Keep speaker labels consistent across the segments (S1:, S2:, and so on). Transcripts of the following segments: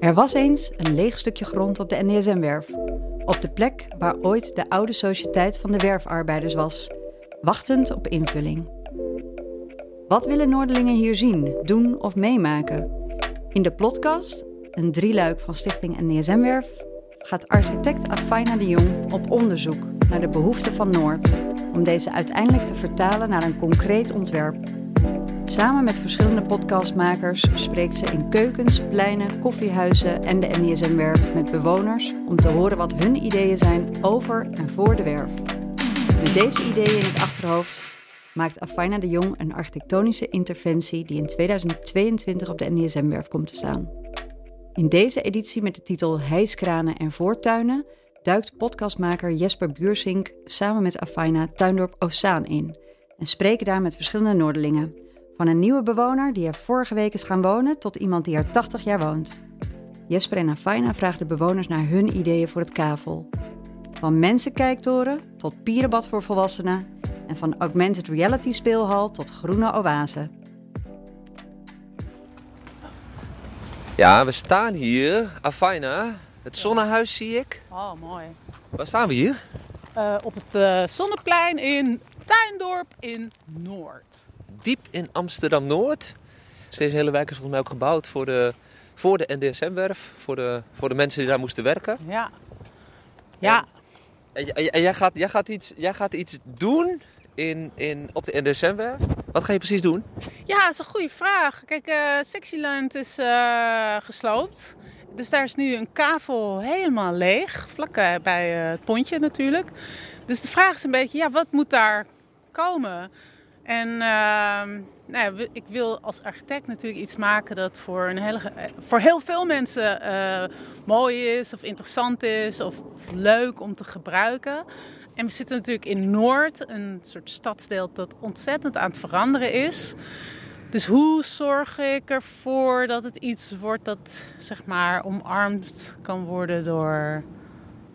S1: Er was eens een leeg stukje grond op de NDSM-werf. Op de plek waar ooit de oude sociëteit van de werfarbeiders was, wachtend op invulling. Wat willen Noorderlingen hier zien, doen of meemaken? In de podcast, een drieluik van Stichting NDSM-werf, gaat architect Afaina de Jong op onderzoek naar de behoeften van Noord, om deze uiteindelijk te vertalen naar een concreet ontwerp. Samen met verschillende podcastmakers spreekt ze in keukens, pleinen, koffiehuizen en de NDSM-werf met bewoners om te horen wat hun ideeën zijn over en voor de werf. Met deze ideeën in het achterhoofd maakt Afaina de Jong een architectonische interventie die in 2022 op de NDSM-werf komt te staan. In deze editie met de titel Hijskranen en voortuinen duikt podcastmaker Jesper Buursink samen met Afaina Tuindorp Ozaan in en spreken daar met verschillende Noorderlingen. Van een nieuwe bewoner die er vorige week is gaan wonen tot iemand die er 80 jaar woont. Jesper en Afaina vragen de bewoners naar hun ideeën voor het kavel. Van mensenkijktoren tot pierenbad voor volwassenen en van augmented reality speelhal tot groene oase.
S2: Ja, we staan hier. Afaina, het zonnehuis zie ik.
S3: Oh, mooi.
S2: Waar staan we hier?
S3: Eh, op het eh, Zonneplein in Tuindorp in Noord.
S2: Diep in Amsterdam-Noord. Dus deze hele wijk is volgens mij ook gebouwd voor de, voor de NDSM-werf. Voor de, voor de mensen die daar moesten werken.
S3: Ja. Ja,
S2: En, j- en j- en jij, gaat, jij, gaat, iets, jij gaat iets doen in, in, op de NDSM-werf. Wat ga je precies doen?
S3: ja, dat is een goede vraag. Kijk, eh Sexyland is eh, gesloopt. Dus daar is nu een kavel helemaal leeg. Vlak eh, bij eh, het pontje natuurlijk. Dus de vraag is een beetje, ja, wat moet daar komen? En ehm, nou ja, we- ik wil als architect natuurlijk iets maken dat voor, een hele, eh, voor heel veel mensen eh, mooi is of interessant is of, of leuk om te gebruiken. En we zitten natuurlijk in Noord, een soort stadsdeel dat ontzettend aan het veranderen is. Dus hoe zorg ik ervoor dat het iets wordt dat zeg maar omarmd kan worden door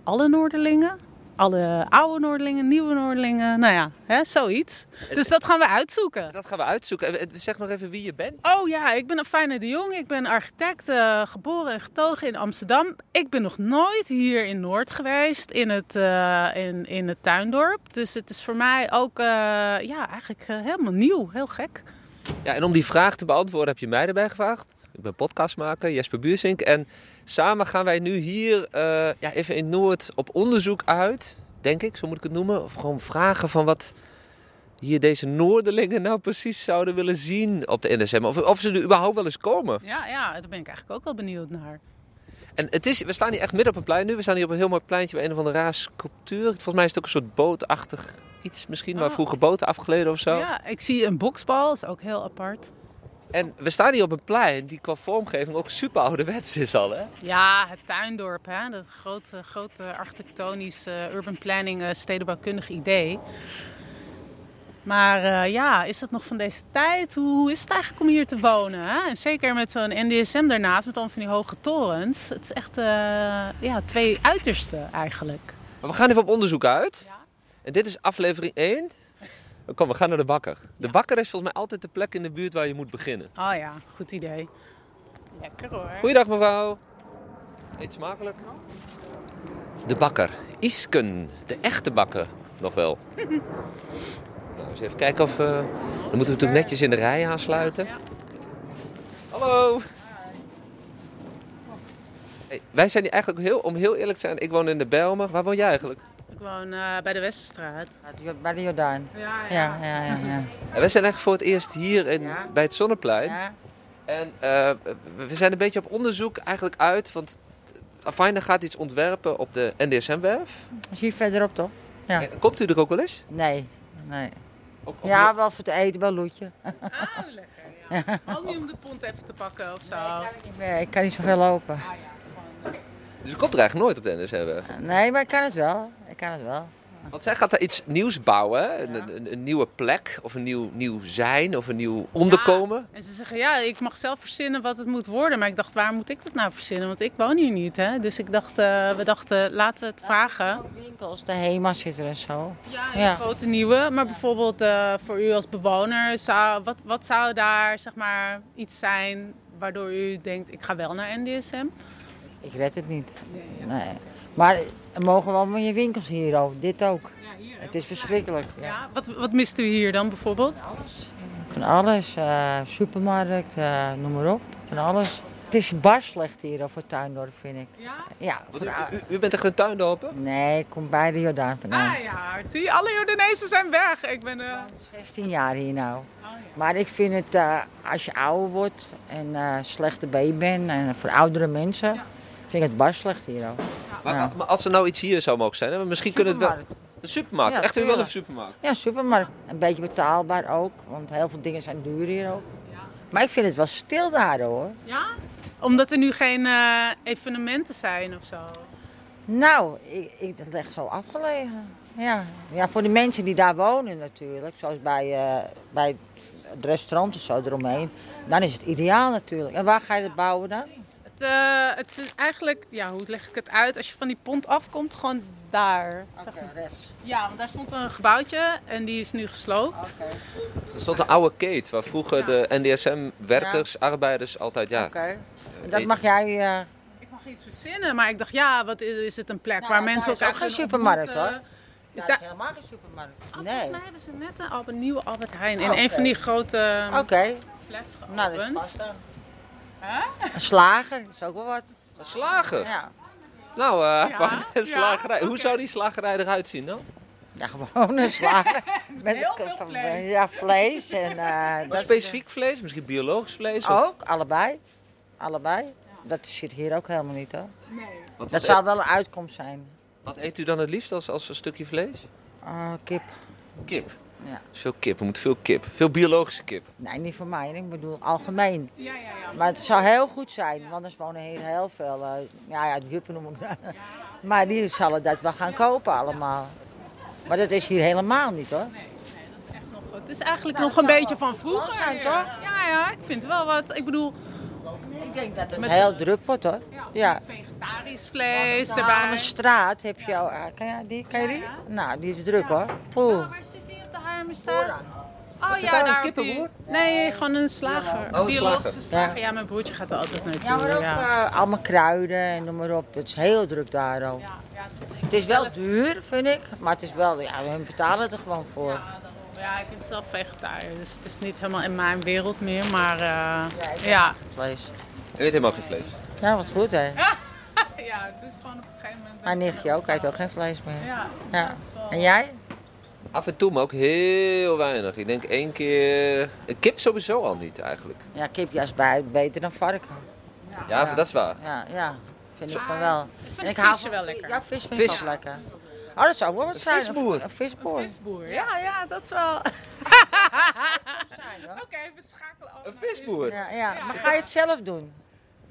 S3: alle Noorderlingen? Alle oude Noorderlingen, nieuwe Noorderlingen, nou ja, hè, zoiets. Dus dat gaan we uitzoeken.
S2: Dat gaan we uitzoeken. En- en Zeg nog even wie je bent.
S3: Oh ja, ik ben Afijne de Jong. Ik ben architect, eh, geboren en getogen in Amsterdam. Ik ben nog nooit hier in Noord geweest, in het, eh, in, in het tuindorp. Dus het is voor mij ook eh, ja, eigenlijk eh, helemaal nieuw, heel gek.
S2: Ja, en om die vraag te beantwoorden heb je mij erbij gevraagd. Ik ben podcastmaker, Jesper Buursink. En samen gaan wij nu hier eh, ja, even in Noord op onderzoek uit, denk ik, zo moet ik het noemen. Of gewoon vragen van wat hier deze Noorderlingen nou precies zouden willen zien op de NSM. Of, of ze er überhaupt wel eens komen.
S3: Ja, ja, daar ben ik eigenlijk ook wel benieuwd naar.
S2: En het is, we staan hier echt midden op een plein nu. We staan hier op een heel mooi pleintje bij een of andere raar sculptuur. Volgens mij is het ook een soort bootachtig iets misschien, waar
S3: Oh.
S2: vroeger boten afgeleden of zo.
S3: Ja, ik zie een boksbal, is ook heel apart.
S2: En we staan hier op een plein die qua vormgeving ook super ouderwets is al, hè?
S3: Ja, het tuindorp, hè? dat grote, grote architectonisch eh, urban planning, eh, stedenbouwkundig idee. Maar eh, ja, is dat nog van deze tijd? Hoe, hoe is het eigenlijk om hier te wonen? Hè? En zeker met zo'n NDSM daarnaast, met al van die hoge torens. Het is echt eh, ja, twee uitersten eigenlijk.
S2: Maar we gaan even op onderzoek uit.
S3: Ja.
S2: En dit is aflevering 1. Kom, we gaan naar de bakker. De
S3: Ja.
S2: bakker is volgens mij altijd de plek in de buurt waar je moet beginnen.
S3: Oh ja, goed idee. Lekker hoor.
S2: Goeiedag mevrouw. Eet smakelijk. De bakker. Isken. De echte bakker. Nog wel. nou, eens even kijken of... eh, Dan moeten we natuurlijk netjes in de rij aansluiten.
S3: Ja.
S2: Hallo. Hey, wij zijn hier eigenlijk heel, om heel eerlijk te zijn, ik woon in de Bijlmer. Waar woon jij eigenlijk?
S3: Ik woon eh, bij de Westerstraat.
S4: Bij de Jordaan.
S3: Ja,
S4: Ja, ja, ja. ja.
S2: En wij zijn eigenlijk voor het eerst hier in,
S4: Ja.
S2: bij het Zonneplein.
S4: ja.
S2: En eh, we zijn een beetje op onderzoek eigenlijk uit, want Afaina gaat iets ontwerpen op de NDSM-werf.
S4: Is hier verderop toch? Ja.
S2: En Komt u er ook wel eens?
S4: Nee, Oh. nee.
S2: Ook, ook
S4: Ja, wel voor het eten, wel loetje.
S3: Ah, lekker. Ja. Ook niet om de pont even te pakken of zo.
S4: Niet meer, Ik kan niet zoveel lopen.
S2: wel- Dus u komt er eigenlijk nooit op de NDSM-werf.
S4: Nee, maar ik kan het wel. Ik kan het wel.
S2: Want zij gaat daar iets nieuws bouwen, hè? een, een, een nieuwe plek of een nieuw, nieuw zijn of een nieuw onderkomen.
S3: En ze zeggen, ja, ik mag zelf verzinnen wat het moet worden. Maar ik dacht, waar moet ik dat nou verzinnen? Want ik woon hier niet, hè. Dus ik dacht, eh, we dachten, laten we het vragen.
S4: Ook Winkels, de HEMA zit er en zo.
S3: Ja,
S4: Ja.
S3: een grote nieuwe. Maar bijvoorbeeld eh, voor u als bewoner, zou, wat, wat zou daar, zeg maar, iets zijn waardoor u denkt, ik ga wel naar NDSM?
S4: Ik red het niet.
S3: Nee, ja.
S4: Nee. Maar er mogen wel meer winkels hier ook. Dit ook.
S3: Ja, hier,
S4: Het is verschrikkelijk. Ja.
S3: Ja, wat, wat mist u hier dan bijvoorbeeld?
S4: Van alles. eh, supermarkt, eh, noem maar op. Van alles. Het is bar slecht hier voor Tuindorp, vind ik.
S3: Ja?
S4: Ja,
S2: Want
S4: voor
S2: u,
S4: a-
S2: u- u bent echt een tuindorper?
S4: Nee, ik kom bij de Jordaan vandaan.
S3: Ah ja, zie je, alle Jordanezen zijn weg. Ik ben... eh,
S4: 16 jaar hier nou.
S3: ja.
S4: Maar ik vind het, eh, als je ouder wordt en eh, slechter been bent en voor oudere mensen, vind ik het bar slecht hier ook.
S2: Maar,
S4: Ja.
S2: maar als er nou iets hier zou mogen zijn, hè, misschien kunnen we het wel...
S4: Supermarkt.
S2: Een supermarkt,
S4: Ja,
S2: echt u wel een
S4: tuurlijk.
S2: supermarkt.
S4: Ja, supermarkt. Een beetje betaalbaar ook, want heel veel dingen zijn duur hier ook. Maar ik vind het wel stil daar hoor.
S3: ja? Omdat er nu geen eh, evenementen zijn of zo.
S4: Nou, ik, ik, dat ligt zo afgelegen. Ja. ja, voor de mensen die daar wonen natuurlijk, zoals bij, eh, bij het restaurant of zo eromheen, dan is het ideaal natuurlijk. En waar ga je het bouwen dan?
S3: Het, eh, het is eigenlijk, ja, hoe leg ik het uit? Als je van die pont afkomt, gewoon daar.
S4: Oké, rechts.
S3: Ja, want daar stond een gebouwtje en die is nu gesloopt.
S4: Oké.
S2: Er stond een oude kate waar vroeger
S3: Ja.
S2: de NDSM-werkers, arbeiders altijd... Ja, e-
S4: Oké. En Dat mag jij. eh,
S3: Ik mag iets verzinnen, maar ik dacht, ja, wat is, is het een plek
S4: Nou,
S3: waar
S4: daar
S3: mensen
S4: is
S3: elkaar
S4: ook geen
S3: kunnen
S4: supermarkt,
S3: ontmoeten?
S4: hoor.
S3: Is
S4: daar
S3: daar...
S4: is helemaal geen supermarkt.
S3: Oh,
S4: nee.
S3: Volgens mij hebben ze net een, Albert- nieuwe Albert Heijn in
S4: Oh,
S3: een
S4: oké.
S3: van die grote ehm,
S4: Oké,
S3: flats geopend.
S4: nou dat is pas dan. Een slager is ook wel wat.
S2: Een slager.
S4: Ja,
S2: Nou, eh,
S3: Ja,
S2: van een
S3: ja,
S2: slagerij. Hoe
S3: oké.
S2: zou die slagerij eruit zien dan?
S4: ja gewoon een slager. Met
S3: Heel
S4: een
S3: veel
S4: van-
S3: vlees.
S4: Ja, vlees en eh, Oh.
S2: Maar
S4: dat
S2: specifiek vlees, misschien biologisch vlees? of-
S4: ook, allebei. Allebei. Dat zit hier ook helemaal niet hoor.
S3: Nee.
S2: Wat, e-
S4: Dat
S2: wat,
S4: zou wel een uitkomst zijn.
S2: eet, wat eet u dan het liefst als, als een stukje vlees?
S4: Ah, kip.
S2: Kip.
S4: Ja.
S2: Is Veel kip, er moet veel kip. Veel biologische kip.
S4: Nee, niet voor mij. Ik bedoel algemeen.
S3: Ja, ja, ja.
S4: Maar het zou heel goed zijn, want er wonen hier heel veel. eh, ja, ja, die juppen noem ik dat. Maar die zullen dat wel gaan kopen allemaal. Maar dat is hier helemaal niet hoor.
S3: Nog- Het is eigenlijk
S4: Nou,
S3: nog een
S4: dat zou
S3: beetje
S4: wel
S3: van vroeger.
S4: zijn,
S3: ja.
S4: toch?
S3: Ja, ja, ik vind wel wat. Ik bedoel,
S4: Ik denk dat het
S3: Met-
S4: heel druk wordt hoor. Ja.
S3: vegetarisch vlees
S4: Aan
S3: erbij.
S4: de straat heb je al. eh, Kan je die? Kan je die?
S3: Ja,
S4: Nou, die is druk hoor. Poeh.
S3: Waar zit hij op de Harmenstraat? Oh
S2: zit daar, een
S3: op die-
S2: kippenboer?
S3: Nee, gewoon een slager.
S2: Oh, een slager.
S3: Biologische slager.
S4: Ja.
S3: Ja. mijn broertje gaat er altijd naartoe.
S4: Ja, maar ook
S3: ja.
S4: eh, allemaal kruiden en noem maar op. Het is heel druk daar ook.
S3: Ja, ja, het is,
S4: Het is wel duur, vind ik. Maar het is wel, ja, we betalen het er gewoon voor. Ja,
S3: Ja, daarom. ja, ik ben zelf vegetariër, dus het is niet helemaal in mijn wereld meer. Maar eh,
S4: Ja, ik-
S3: ja.
S4: Vlees.
S2: U eet helemaal geen vlees.
S4: Ja, wat goed hè.
S3: ja, het is gewoon op een gegeven moment...
S4: Mijn nichtje ook, eet ook geen vlees meer.
S3: Ja,
S4: Ja.
S3: dat is wel-
S4: En jij?
S2: Af en toe, maar ook heel weinig. Ik denk één keer... Een kip sowieso al niet eigenlijk.
S4: Ja, kipjas bij beter dan varken.
S2: Ja, dat is waar.
S4: Nou, Ja, ja. Vind ik van wel.
S3: Ik vind
S4: En ik
S3: de
S4: hou
S3: visje
S4: van-
S3: wel lekker.
S4: Ja, vis vind ik
S2: Vis.
S4: ook lekker. Oh, dat zou wel wat
S2: Een
S4: zijn.
S2: visboer.
S4: Een visboer.
S3: Visboer, ja, ja, dat is wel... Oké, we schakelen over
S2: Een
S3: naar
S2: visboer.
S4: Ja, ja. Maar ga je het zelf doen?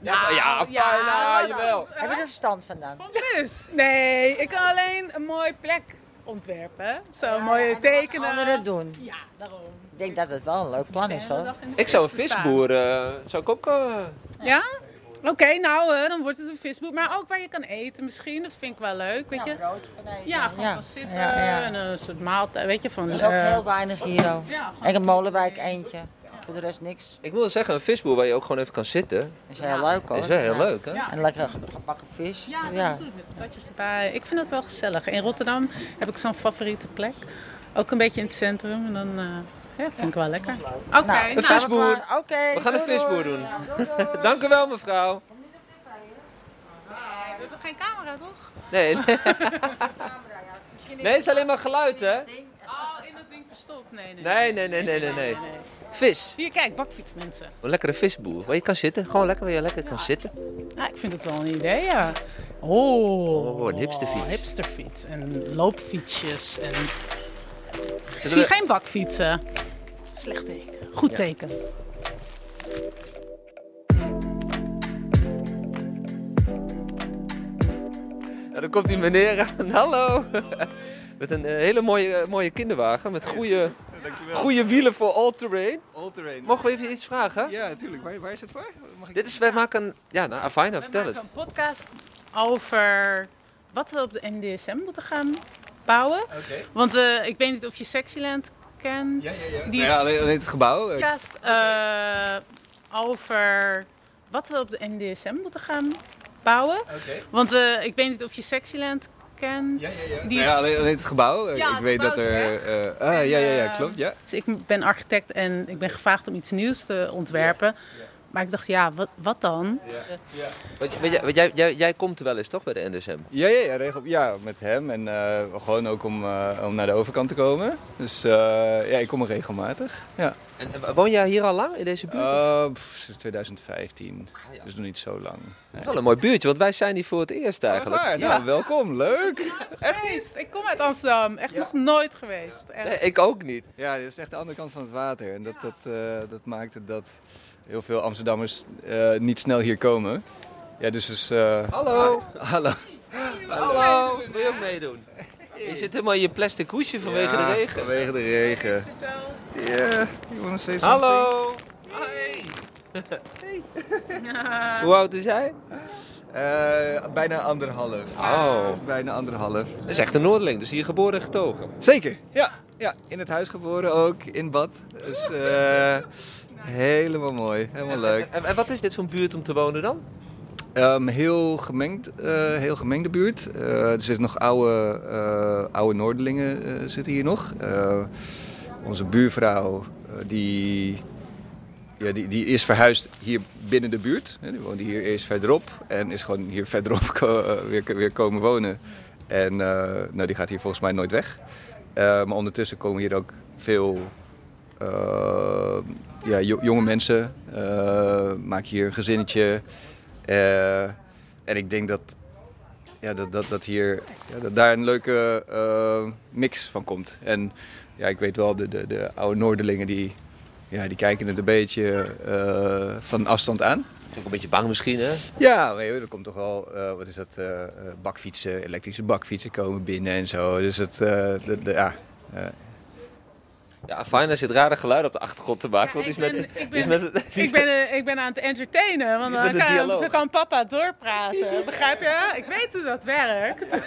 S2: Ja, ja, fijn, nou,
S3: ja,
S2: ja,
S3: dat-
S2: jawel.
S4: Heb je er verstand van dan?
S3: Van vis? Nee, ik kan alleen een mooie plek ontwerpen. Zo
S4: En
S3: mooie
S4: wat
S3: tekenen.
S4: Anderen doen.
S3: Ja, daarom.
S4: Ik denk dat het wel een leuk plan is hoor.
S2: Ik zou een visboer... eh, zou ik ook... eh,
S3: Ja? Oké, nou, eh, dan wordt het een visboer. Maar ook waar je kan eten misschien. Dat vind ik wel leuk, weet je. Ja, gewoon
S4: Ja.
S3: gaan zitten
S4: Ja, ja.
S3: en een soort maaltijd, weet je. Van,
S4: Er is ook
S3: eh,
S4: heel weinig hier ook.
S3: ja,
S4: Ik heb Molenwijk eentje. Voor de rest niks.
S2: ik moet wel zeggen, een visboer waar je ook gewoon even kan zitten...
S4: Is heel leuk hoor.
S2: is wel heel
S4: Ja.
S2: leuk, hè?
S3: Ja.
S4: En lekker gebakken vis.
S3: Ja,
S4: Ja.
S3: natuurlijk met patatjes erbij. Ik vind dat wel gezellig. In Rotterdam heb ik zo'n favoriete plek. Ook een beetje in het centrum. En dan eh, ja, vind ik wel lekker. Oké,
S4: Nou,
S2: Een
S3: nou,
S2: visboer.
S4: Oké.
S2: We gaan een
S4: doei, doei.
S2: visboer doen.
S4: Ja, doei, doei.
S2: Dank u wel, mevrouw.
S3: Nou, we hebben geen camera, toch?
S2: Nee, nee, nee, het is alleen maar geluid, hè?
S3: Oh, in dat ding verstopt. Nee, nee.
S2: Nee, nee, nee, nee, nee, nee. Vis.
S3: Hier, kijk, bakfiets mensen.
S2: Een lekkere visboer. Waar je kan zitten. Gewoon lekker waar je lekker kan zitten.
S3: Nou, ik vind het wel een idee, ja. Oh,
S2: Oh, een hipsterfiets.
S3: hipsterfiets en loopfietsjes. En... Ik
S2: we-
S3: zie geen bakfietsen. Slecht teken. Goed teken.
S2: En dan komt die meneer aan. Hallo. Met een eh, hele mooie, eh, mooie kinderwagen. Met goede,
S5: Dankjewel.
S2: goede wielen voor all terrain.
S5: All terrain.
S2: Mogen we even iets vragen?
S5: Ja, natuurlijk. Waar, waar is het voor? Mag ik...
S2: Dit is, wij maken een... Ja, nou, Afina,
S3: We
S2: vertel
S3: maken
S2: het.
S3: een podcast over wat we op de NDSM moeten gaan bouwen.
S5: Oké.
S3: Want eh, ik weet niet of je Sexyland kent.
S5: Ja, ja, ja.
S3: Die
S5: Nou ja, alleen, alleen het gebouw. eh,
S3: podcast eh, over wat we op de NDSM moeten gaan bouwen.
S5: Oké.
S3: Want eh, ik weet niet of je Sexyland kent. Die
S5: Nou
S3: is-
S5: Ja, alleen, alleen het gebouw. Eh,
S3: Ja,
S5: ik
S3: het
S2: weet
S3: gebouw
S5: dat
S3: is
S5: er.
S3: weg.
S5: eh,
S3: En,
S5: ah, ja, ja, ja,
S3: eh,
S5: klopt. Ja.
S3: Dus ik ben architect en ik ben gevraagd om iets nieuws te ontwerpen. Maar ik dacht, ja, wat, wat dan?
S2: Want, want jij- want jij, jij, jij komt er wel eens toch bij de NSM?
S5: Ja, ja, ja, regel, ja, met hem. En eh, gewoon ook om, eh, om naar de overkant te komen. Dus eh, ja, ik kom er regelmatig. Ja.
S2: En, en woon jij hier al lang in deze buurt?
S5: Eh, pff, sinds 2015.
S2: Ah, ja.
S5: Dus nog niet zo lang.
S2: Het is wel een mooi buurtje, want wij zijn hier voor het eerst eigenlijk.
S5: Echt waar?
S2: Ja.
S5: Nou, welkom. Leuk.
S3: Geweest. Ik kom uit Amsterdam. Echt
S5: Ja.
S3: nog nooit geweest. Echt.
S2: Nee, ik ook niet.
S5: Ja, dit is echt de andere kant van het water. En dat, dat, eh, dat maakt het dat heel veel Amsterdammers eh, niet snel hier komen. Ja, dus... dus eh,
S2: Hallo.
S5: hallo.
S2: Hallo. Wil je ook meedoen? Je zit helemaal in je plastic hoesje vanwege
S5: Ja,
S2: de regen.
S5: Vanwege de regen. Ja, you wanna say something?
S2: Hallo. Hey. Hoe oud is jij?
S5: Eh, bijna anderhalf.
S2: Oh.
S5: Bijna anderhalf.
S2: Dat is echt een Noorderling, dus hier geboren en getogen.
S5: Zeker, ja. Ja, in het huis geboren ook, in bad. Dus eh, helemaal mooi, helemaal leuk.
S2: En, en wat is dit voor een buurt om te wonen dan?
S5: Ehm, heel, gemengd, eh, heel gemengde buurt. Eh, er zitten nog oude, eh, oude Noorderlingen eh, zitten hier nog. Eh, onze buurvrouw, eh, die, ja, die, die is verhuisd hier binnen de buurt. Hè, die woonde hier eerst verderop en is gewoon hier verderop ko- eh, weer, weer komen wonen. En eh, nou, die gaat hier volgens mij nooit weg. Eh, maar ondertussen komen hier ook veel eh, ja, jo- jonge mensen. eh maken hier een gezinnetje. Eh, en ik denk dat, ja, dat, dat, dat hier ja, dat daar een leuke eh, mix van komt. En ja, ik weet wel, de, de, de oude Noorderlingen die, ja, die kijken het een beetje eh, van afstand aan.
S2: Ook een beetje bang misschien, hè?
S5: Ja, maar joh, er komt toch wel, eh, wat is dat, eh, eh, bakfietsen, elektrische bakfietsen komen binnen en zo. Dus het, eh, de, de- ja.
S2: Ja, fijn, er zit rare geluiden op de achtergrond te maken.
S3: Ja,
S2: want
S3: ik
S2: die is met,
S3: ben- ik
S2: die is
S3: ben-
S2: met- die is
S3: Ik ben, eh, ik ben aan het entertainen, want
S2: Iets met
S3: dan
S2: de
S3: kan,
S2: dialoog.
S3: dan kan papa doorpraten. Begrijp je? Ik weet hoe dat werkt.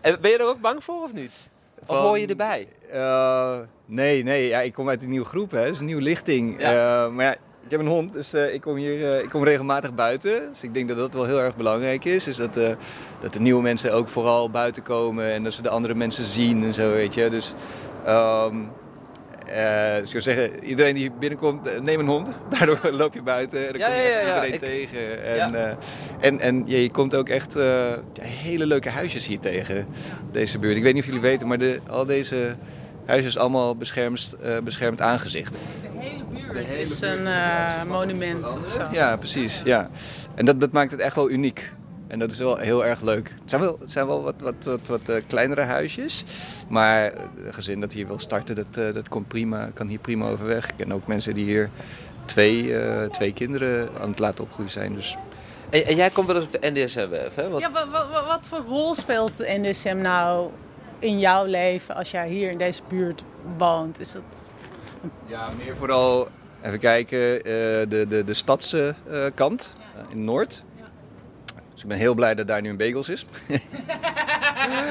S2: En ben je er ook bang voor of niet? Of
S5: Van-
S2: hoor je erbij?
S5: Eh, nee, nee, ja, ik kom uit een nieuwe groep, hè. Het is een nieuwe lichting.
S2: Ja.
S5: Eh, maar ja, ik heb een hond, dus eh, ik kom hier eh, ik kom regelmatig buiten. Dus ik denk dat dat wel heel erg belangrijk is. Is dat, eh, dat de nieuwe mensen ook vooral buiten komen en dat ze de andere mensen zien en zo, weet je. Dus, ehm eh, dus ik zou zeggen, iedereen die binnenkomt, eh, neem een hond. Daardoor loop je buiten en dan
S2: Ja,
S5: kom je
S2: ja,
S5: echt
S2: ja, ja.
S5: iedereen
S2: Ik-
S5: tegen. En, eh, en, en ja, je komt ook echt eh, ja, hele leuke huisjes hier tegen, deze buurt. Ik weet niet of jullie weten, maar de, al deze huizen is allemaal beschermd, eh, beschermd aangezicht.
S3: De hele buurt is een eh, monument of zo.
S5: Ja, precies. Ja. En dat, dat maakt het echt wel uniek. En dat is wel heel erg leuk. Het zijn wel, het zijn wel wat, wat, wat, wat eh, kleinere huisjes. Maar eh, een gezin dat hier wil starten, dat, eh, dat komt prima, kan hier prima overweg. Ik ken ook mensen die hier twee, eh, twee kinderen aan het laten opgroeien zijn. Dus
S2: En, en jij komt wel eens op de NDSM-werf, hè? Want
S3: Ja, wat, wat, wat voor rol speelt de NDSM nou in jouw leven als jij hier in deze buurt woont? Is dat...
S5: Ja, meer vooral even kijken, eh, de, de, de stadse eh, kant eh, in Noord. Dus ik ben heel blij dat daar nu een bagels is.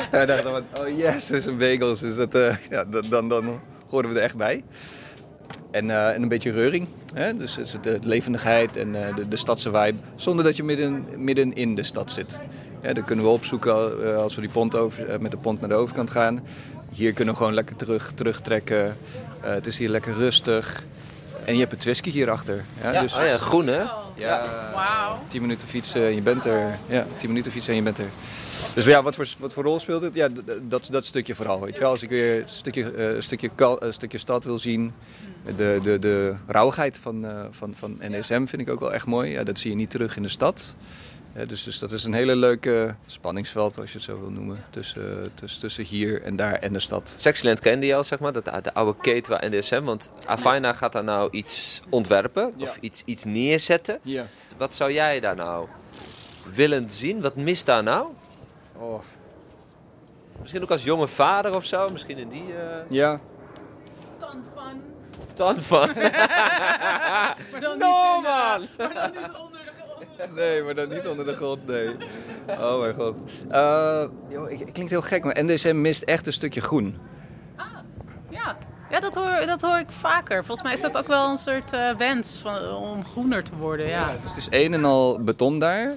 S5: Hij dacht dan, van, oh yes, er is een bagels. Dus dat, eh, ja, dat- dan, dan horen we er echt bij. En, eh, en een beetje reuring. Hè? Dus het, het, het levendigheid en eh, de, de stadse vibe. Zonder dat je midden, midden in de stad zit. Ja, dat kunnen we opzoeken al- eh, als we die pont over, eh, met de pont naar de overkant gaan. Hier kunnen we gewoon lekker terug, terugtrekken. Eh, het is hier lekker rustig. En je hebt het whisky hierachter. Ja,
S2: Ja,
S5: dus,
S2: oh ja, groen, hè?
S5: ja,
S3: Wauw.
S5: 10 minuten fietsen en je bent er. Ja, 10 minuten fietsen en je bent er. Dus ja, wat voor, wat voor rol speelt het? Ja, d- d- dat, dat stukje vooral. Weet je wel. Als ik weer een stukje, eh, een stukje, kal- een stukje stad wil zien. De, de, de rauwigheid van, eh, van, van NSM vind ik ook wel echt mooi. Ja, dat zie je niet terug in de stad. Ja, dus, dus dat is een hele leuke spanningsveld, als je het zo wil noemen. Tussen, tussen, tussen hier en daar en de stad.
S2: Sexyland kende je al, zeg maar, dat, de oude keten waar NDSM. Want Afina gaat daar nou iets ontwerpen
S5: Ja.
S2: of iets, iets neerzetten.
S5: Ja.
S2: Wat zou jij daar nou willen zien? Wat mist daar nou?
S5: Oh.
S2: Misschien ook als jonge vader of zo, misschien in die eh
S5: Ja.
S3: Ton van.
S2: tan van.
S3: Maar dan
S2: No,
S3: niet, eh,
S2: man.
S3: Maar dan niet onder de onder de-
S5: Nee, maar dan niet onder de grond, nee. Oh mijn god. Eh, joh, ik- het klinkt heel gek, maar NDSM mist echt een stukje groen.
S3: Ja, Ja, dat hoor, dat hoor ik vaker. Volgens mij is dat ook wel een soort eh, wens van, om groener te worden. Ja.
S5: Dus het is een en al beton daar.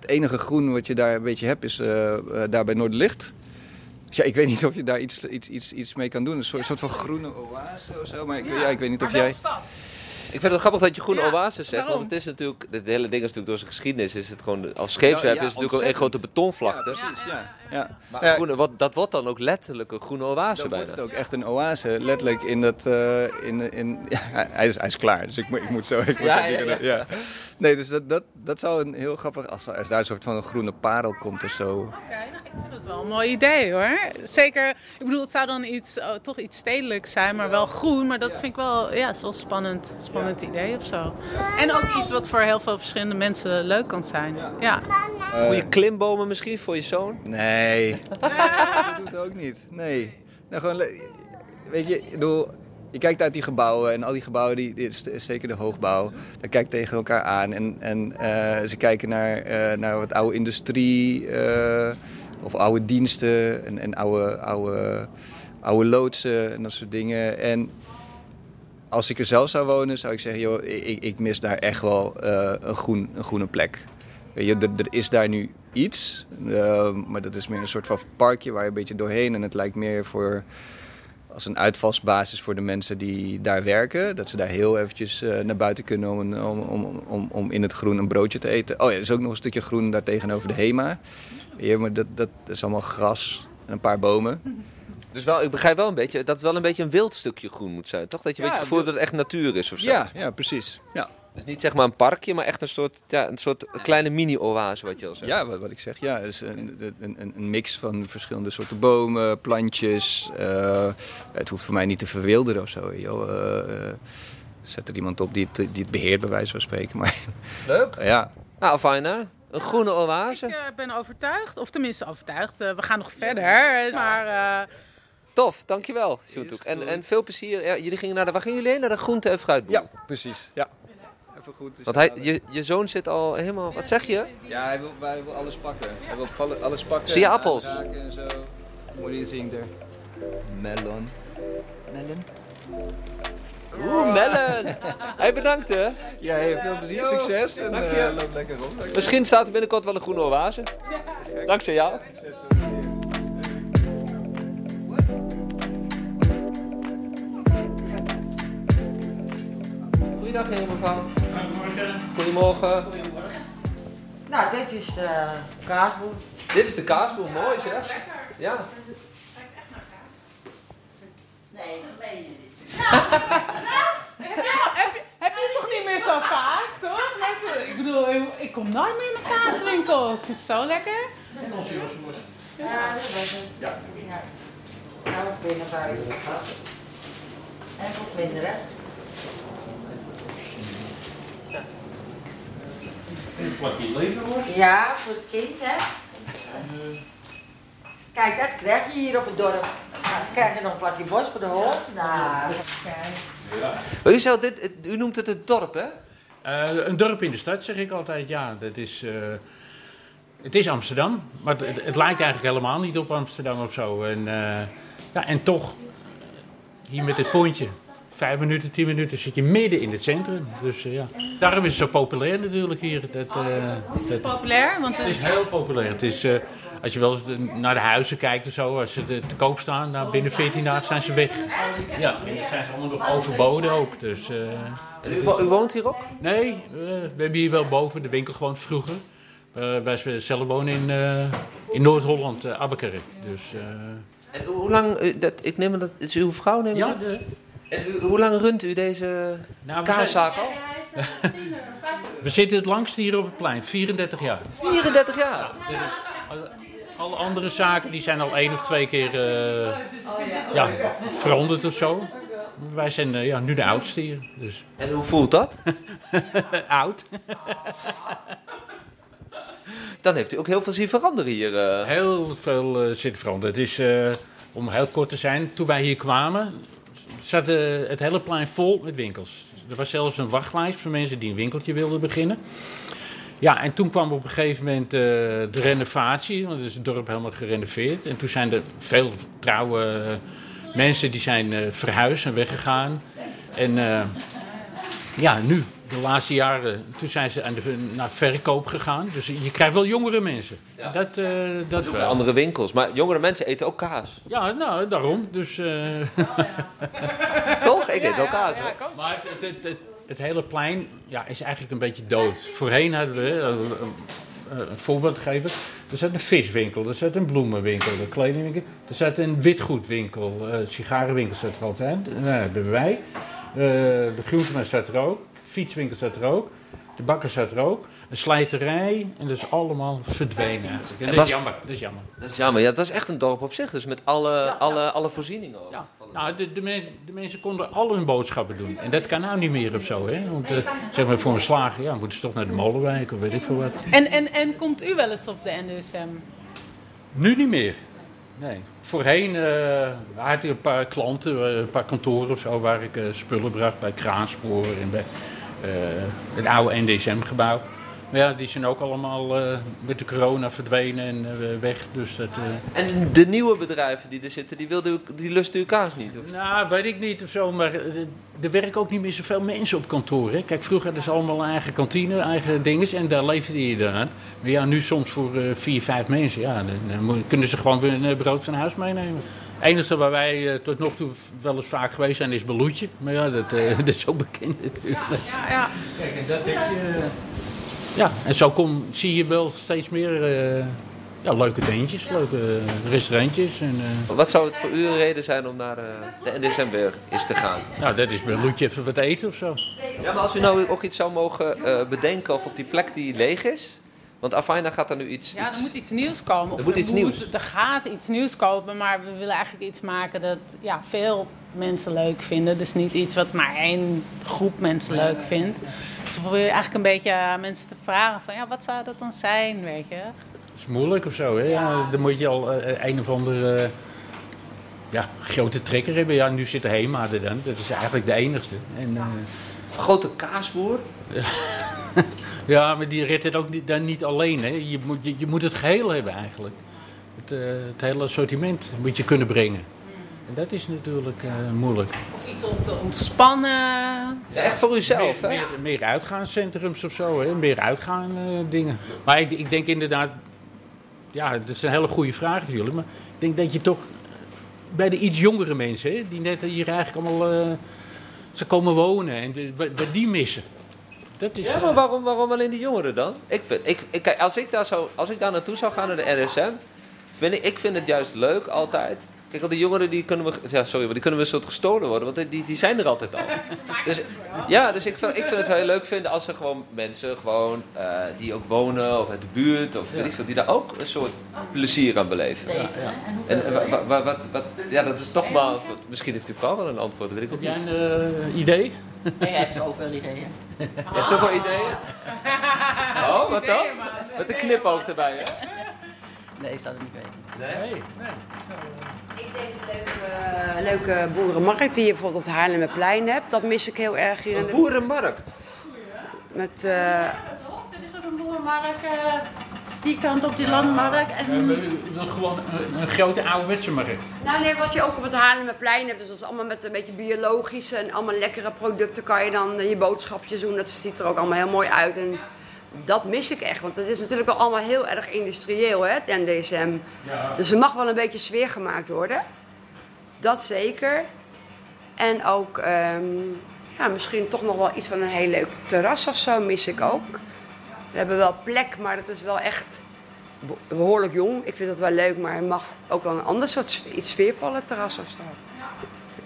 S5: Het enige groen wat je daar een beetje hebt is eh, eh, daar bij Noorderlicht. Dus ja, ik weet niet of je daar iets, iets, iets, iets mee kan doen. Een soort, soort van groene oase of zo. Maar ik, ja, ik weet niet of
S3: maar wel
S5: jij...
S3: stad.
S2: Ik vind het grappelijk dat je groene
S3: Ja,
S2: oase zegt.
S3: daarom.
S2: Want het is natuurlijk, het hele ding is natuurlijk door zijn geschiedenis. Is het gewoon, als scheepswerf
S5: Ja, ja,
S2: is het natuurlijk een grote
S5: ontzettend.
S2: betonvlakte.
S5: Ja, precies, ja. ja.
S2: maar
S5: Ja,
S2: groene, wat, dat wordt dan ook letterlijk een groene oase
S5: Dan wordt het
S2: bijna.
S5: ook echt een oase, letterlijk in dat... eh, in, in, ja, hij, is, hij is klaar, dus ik, moet- ik moet zo... Ik moet
S2: Ja,
S5: zo
S2: ja,
S5: dingen- ja. Nee, dus dat, dat, dat zou een heel grappig... Als er daar een soort van een groene parel komt of zo.
S3: Oké, nou, ik vind het wel een mooi idee hoor. Zeker, ik bedoel, het zou dan iets, eh, toch iets stedelijks zijn, maar wel groen. Maar dat vind ik wel, ja, het is wel een spannend, spannend idee of zo. En ook iets wat voor heel veel verschillende mensen leuk kan zijn. Ja,
S2: Goede klimbomen misschien voor je zoon.
S5: Nee. dat doet het ook niet. Nee. Nou, gewoon, le- weet je, ik bedoel, je kijkt uit die gebouwen en al die gebouwen, die, die- st- zeker de hoogbouw, dat kijkt tegen elkaar aan. En, en eh, ze kijken naar, eh, naar wat oude industrie eh, of oude diensten en, en oude, oude, oude loodsen en dat soort dingen. En als ik er zelf zou wonen, zou ik zeggen, joh, ik, ik mis daar echt wel eh, een, groen, een groene plek. Weet je, er, er is daar nu iets, eh, maar dat is meer een soort van parkje waar je een beetje doorheen. En het lijkt meer voor, als een uitvalsbasis voor de mensen die daar werken. Dat ze daar heel eventjes eh, naar buiten kunnen om, een- om, om, om, om in het groen een broodje te eten. Oh ja, er is ook nog een stukje groen daar tegenover de HEMA. Ja, maar dat, dat is allemaal gras en een paar bomen.
S2: Dus wel, ik begrijp wel een beetje dat het wel een beetje een wild stukje groen moet zijn. Toch? Dat je een
S5: Ja,
S2: beetje het gevoel hebt dat het echt natuur is of zo.
S5: Ja, ja precies. Ja.
S2: Dus niet zeg maar een parkje, maar echt een soort, ja, een soort kleine mini-oase wat je al zegt.
S5: Ja, wat, wat ik zeg, ja, is een, een, een- een mix van verschillende soorten bomen, plantjes. eh, het hoeft voor mij niet te verwilderen of zo. Joh. Eh, eh, zet er iemand op die het, die het beheert, bij wijze van spreken. Maar
S2: Leuk.
S5: ja,
S2: Nou, fijn hè? Een groene oase.
S3: ik eh, ben overtuigd, of tenminste overtuigd. eh, we gaan nog verder, maar... eh,
S2: Tof, dankjewel, Sjoerdhoek. En, en veel plezier. Ja, jullie gingen naar de, waar gingen jullie heen? Naar de groente- en fruitboer.
S5: ja precies. Ja. Even goed. dus
S2: Want hij, je, je zoon zit al helemaal, wat zeg je?
S5: Ja, hij wil, hij wil alles pakken. Hij wil alle- alles pakken.
S2: Zie je
S5: en
S2: appels?
S5: aanraken En zo. What do you think there? Melon. Melon?
S2: Oeh, Mellen. Hey, bedankt hè.
S5: Ja, hey, veel plezier, succes. En eh, loop lekker rond.
S2: Misschien staat er binnenkort wel een groene oase. Dankzij jou. Goeiedag, meneer mevrouw. Goedemorgen.
S4: Nou, dit is de kaasboer.
S2: Dit is de kaasboer, mooi zeg. Ja.
S3: Heb je het toch niet meer zo vaak, toch? Mensen, ik bedoel, ik- ik kom nooit meer in een kaaswinkel. Ik vind het zo lekker.
S4: Ja, dat was het. Ja. Nou, ik ben er bij de gas. En wat minder, hè? Ja, voor het kind, hè? Kijk, dat krijg je hier op het dorp. Nou, dan krijg je nog een plakje bos voor de hond. Nou, kijk.
S2: Maar u, zei al, dit, het- u noemt het het dorp, hè?
S6: Eh, een dorp in de stad, zeg ik altijd. Ja, dat is, eh, het is Amsterdam, maar het- het, het lijkt eigenlijk helemaal niet op Amsterdam of zo. En, eh, ja, en toch, hier met dit pontje, vijf minuten, tien minuten, zit je midden in het centrum. Dus eh, ja, daarom is het zo populair natuurlijk hier. Dat, eh, dat,
S3: Populair, want het
S6: het
S3: is
S6: is heel populair. Het is, eh, als je wel eens naar de huizen kijkt en zo, als ze te, te koop staan, nou, binnen 14 dagen zijn ze weg. Ja, en dan zijn ze allemaal nog overboden ook. Dus, eh,
S2: En u, wo- u woont hier ook?
S6: Nee, eh, we hebben hier wel boven de winkel gewoond vroeger. Eh, wij zelf wonen in, eh, in Noord-Holland, eh Abbekerk. Dus, eh,
S2: En hoe lang, u- dat, ik neem aan dat, het is uw vrouw, neem ik
S6: ja,
S2: aan?
S6: de-
S2: En u- hoe lang runt u deze
S6: nou, we, zijn-
S2: kaaszaak al?
S6: we zitten het langst hier op het plein, 34 jaar.
S2: 34 jaar.
S6: Alle- Alle andere zaken die zijn al één of twee keer eh, ja, veranderd of zo. Wij zijn eh, ja, nu de oudste hier. Dus.
S2: En hoe voelt dat?
S6: Oud?
S2: Dan heeft u ook heel veel zien veranderen hier. eh.
S6: Heel veel eh, zit veranderd. Het is, eh, om heel kort te zijn, toen wij hier kwamen, s- zat eh, het hele plein vol met winkels. Er was zelfs een wachtlijst voor mensen die een winkeltje wilden beginnen. Ja, en toen kwam op een gegeven moment eh, de renovatie, want het is het dorp helemaal gerenoveerd. En toen zijn er veel trouwe eh, Mensen die zijn eh, verhuisd en weggegaan. En eh, ja, nu, de laatste jaren, toen zijn ze aan de, naar verkoop gegaan. Dus je krijgt wel jongere mensen.
S2: Ja.
S6: Dat, eh, dat
S2: Bij
S6: wel.
S2: andere winkels. Maar jongere mensen eten ook kaas.
S6: Ja, nou, daarom. Dus, eh,
S2: Toch? Ik eet ook kaas.
S3: Ja,
S2: hoor.
S3: ik ook.
S6: Maar het, het, het, het hele plein ja, is eigenlijk een beetje dood. Voorheen hadden we, eh, een- een- een voorbeeld te geven, er zat een viswinkel, er zat een bloemenwinkel, een kledingwinkel, er zat een witgoedwinkel, eh sigarenwinkel zat er altijd, nou, dat hebben wij. Eh, de groenteman zat er ook, fietswinkel zat er ook, de bakker zat er ook, een slijterij en dat is allemaal verdwenen eigenlijk. En dat
S2: Was-
S6: is jammer, dat is jammer.
S2: Dat is jammer. Ja, dat is echt een dorp op zich. Dus met alle, alle, alle voorzieningen. ook.
S6: Ja,
S2: Van-
S6: nou, de, de, mens- de mensen konden al hun boodschappen doen. En dat kan nou niet meer of zo. Hè? Want eh, zeg maar voor een slager ja, moeten ze toch naar de molenwijk of weet ik veel wat.
S3: En, en, en komt u wel eens op de NDSM?
S6: Nu niet meer. Nee. Voorheen eh had ik een paar klanten, eh, een paar kantoren of zo, waar ik eh, spullen bracht bij Kraanspoor en bij eh, het oude NDSM-gebouw. Maar ja, die zijn ook allemaal eh, met de corona verdwenen en eh, weg. Dus dat. eh,
S2: En de nieuwe bedrijven die er zitten, die, wilden, uw- die lusten uw kaas niet. Of?
S6: Nou, weet ik niet of zo, maar eh, er werken ook niet meer zoveel mensen op kantoor. Hè? Kijk, vroeger hadden ze allemaal eigen kantine, eigen dinges en daar leefde je dan aan. Maar ja, nu soms voor eh, vier, vijf mensen, ja, dan, dan mo- kunnen ze gewoon hun eh, brood van huis meenemen. Het enige waar wij eh, tot nog toe wel eens vaak geweest zijn is Beloetje. Maar ja, dat, eh, dat is ook bekend natuurlijk.
S3: Ja, ja.
S6: Kijk, en dat heb je... eh, Ja, en zo kom, zie je wel steeds meer eh, ja, leuke tentjes, leuke eh, restaurantjes en... eh,
S2: Wat zou het voor u een reden zijn om naar eh, de NDSM weer eens te gaan?
S6: nou, dat is bij Loetje even wat eten of zo.
S2: Ja, maar als u nou ook iets zou mogen eh, bedenken of op die plek die leeg is. Want Afina gaat er nu iets...
S3: ja,
S2: iets-
S3: er moet iets nieuws komen. Of
S2: Er moet iets nieuws.
S3: er gaat iets nieuws komen, maar we willen eigenlijk iets maken dat ja, veel mensen leuk vinden. Dus niet iets wat maar één groep mensen leuk vindt. Dus we proberen eigenlijk een beetje eh, mensen te vragen van ja, wat zou dat dan zijn, weet je?
S6: Het is moeilijk of zo, hè? Ja, dan moet je al eh, een of andere eh, ja, grote trekker hebben. Ja, nu zit de HEMA er dan. Dat is eigenlijk de enigste. En, eh,
S2: Grote kaasboer?
S6: ja, maar die redt het ook niet, dan niet alleen, hè? Je moet, je, je moet het geheel hebben eigenlijk. Het, eh, het hele assortiment moet je kunnen brengen. En dat is natuurlijk eh, moeilijk.
S3: Of iets om te ontspannen.
S2: Ja, eh, echt voor uzelf,
S6: meer,
S2: hè?
S6: meer, meer uitgaanscentrums of zo, hè? meer uitgaan eh, dingen. Maar ik, ik denk inderdaad, ja, dat is een hele goede vraag natuurlijk. Maar ik denk dat je toch bij de iets jongere mensen, hè, die net hier eigenlijk allemaal eh, ze komen wonen en de- wat, wat die missen. Dat is,
S2: Ja,
S6: eh,
S2: maar waarom, waarom alleen de jongeren dan? Ik vind, ik, ik, kijk, als ik, daar zou, als ik daar naartoe zou gaan naar de RSM, vind ik, ik vind het juist leuk altijd. Kijk, al die jongeren die kunnen we, ja, sorry, maar die kunnen we een soort gestolen worden, want die, die zijn er altijd al. Dus, ja, dus ik, vind- ik vind het heel leuk vinden als er gewoon mensen gewoon, eh, die ook wonen of uit de buurt of weet ik veel, die daar ook een soort plezier aan beleven. En eh, wa- wa- wa- wat, wat, ja, dat is toch maar, misschien heeft uw vrouw wel een antwoord, dat weet ik ook
S6: heb
S2: niet.
S6: jij een eh, idee?
S4: Nee, hij heeft overal ideeën.
S2: Je hebt zoveel ideeën. Oh, wat dan? Met een knipoog erbij, hè?
S4: Nee, ik zou het niet weten.
S6: Nee.
S7: Ik denk een leuke, leuke boerenmarkt die je bijvoorbeeld op het Haarlemmerplein hebt. Dat mis ik heel erg hier. in
S2: Een
S7: de-
S2: boerenmarkt.
S7: Met, eh,
S3: Er is ook een boerenmarkt eh, die kant op die landmarkt.
S6: We hebben eh, gewoon een, een grote ouderwetse markt.
S7: nou nee, wat je ook op het Haarlemmerplein hebt. Dus dat is allemaal met een beetje biologische en allemaal lekkere producten. Kan je dan eh, je boodschapjes doen. Dat ziet er ook allemaal heel mooi uit. En dat mis ik echt. Want het is natuurlijk wel allemaal heel erg industrieel, hè, het NDSM. Dus er mag wel een beetje sfeer gemaakt worden. Dat zeker. En ook ehm, ja, misschien toch nog wel iets van een heel leuk terras of zo mis ik ook. We hebben wel plek, maar dat is wel echt be- behoorlijk jong. Ik vind dat wel leuk, maar het mag ook wel een ander soort sfe- iets sfeervolle terras of zo.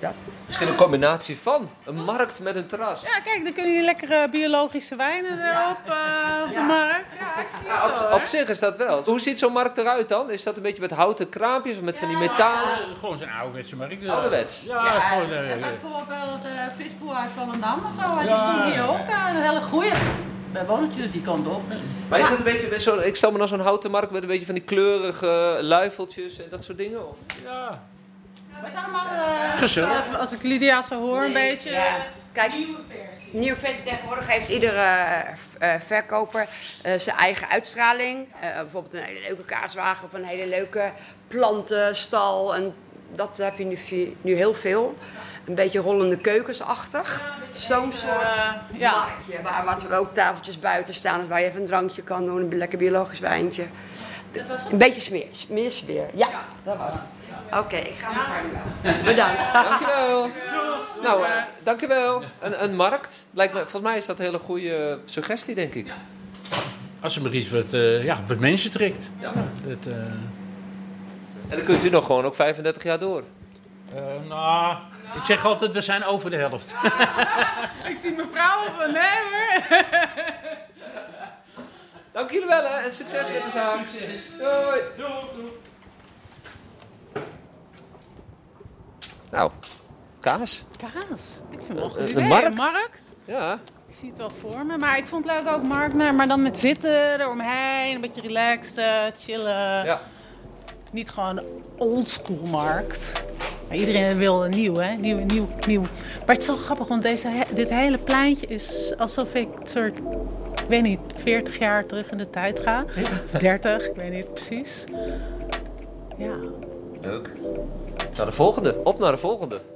S7: Dat.
S2: Misschien een combinatie van. Een markt met een terras.
S3: Ja, kijk, dan kunnen jullie lekkere biologische wijnen erop eh, op de markt. Ja, ik zie het
S2: Op,
S3: wel,
S2: op
S3: hoor.
S2: zich is dat wel. Hoe ziet zo'n markt eruit dan? Is dat een beetje met houten kraampjes of met van die metalen?
S6: Eh, gewoon zo'n ouderwetse markt.
S2: Ouderwets?
S6: Ja, gewoon... eh,
S8: Bijvoorbeeld
S4: eh,
S8: de visboer uit Volendam en zo.
S6: die
S8: Die
S6: Ja. stond
S8: stond
S6: hier
S8: hier ook een hele goeie. Wij wonen natuurlijk die kant op.
S2: Maar is dat een beetje met zo'n... Ik stel me nou zo'n houten markt met een beetje van die kleurige luifeltjes en dat soort dingen? Of?
S6: ja.
S8: Wij zijn allemaal... eh,
S6: Gezellig.
S3: Als ik Lydia zo hoor, een
S7: Nee,
S3: beetje. eh,
S7: ja. Kijk,
S3: Nieuwe versie.
S7: Nieuwe versie tegenwoordig heeft iedere eh, v- eh, verkoper eh, zijn eigen uitstraling. Eh, bijvoorbeeld een hele leuke kaaswagen of een hele leuke plantenstal. En Dat heb je nu, vi- nu heel veel. Een beetje rollende keukensachtig. Zo'n soort
S3: eh, ja.
S7: marktje. Waar wat er ook tafeltjes buiten staan. dus Waar je even een drankje kan doen. Een lekker biologisch wijntje. Een beetje smeer, meer sfeer. Ja, dat was het. Oké, ik ga naar Carnaval. Bedankt.
S2: Dankjewel. Nou, eh, dankjewel. Een, een markt. Lijkt me, volgens mij is dat een hele goede suggestie, denk ik.
S6: Als er maar iets wat, eh, ja, wat mensen trekt.
S2: Ja.
S6: Dat, eh,
S2: En dan kunt u nog gewoon ook 35 jaar door.
S6: eh, nou, ik zeg altijd, we zijn over de helft.
S3: Ik zie mijn vrouw van nee hoor.
S2: Dank jullie wel hè, en succes met de zaak. Doei. Nou, kaas.
S3: Kaas. Ik vind het wel
S2: Eh,
S3: goed.
S2: eh, een markt?
S3: Een markt.
S2: Ja.
S3: Ik zie het wel voor me. Maar ik vond het leuk ook markt, maar maar dan met zitten eromheen. Een beetje relaxed, eh, chillen.
S2: ja.
S3: Niet gewoon oldschool markt. Maar iedereen wil een nieuw, hè? Nieuw, nieuw, nieuw. Maar het is wel grappig, want deze, he- dit hele pleintje is alsof ik een soort, ik weet niet, 40 jaar terug in de tijd ga. Of 30, ik weet niet precies. Ja.
S2: Leuk. Naar de volgende. Op naar de volgende.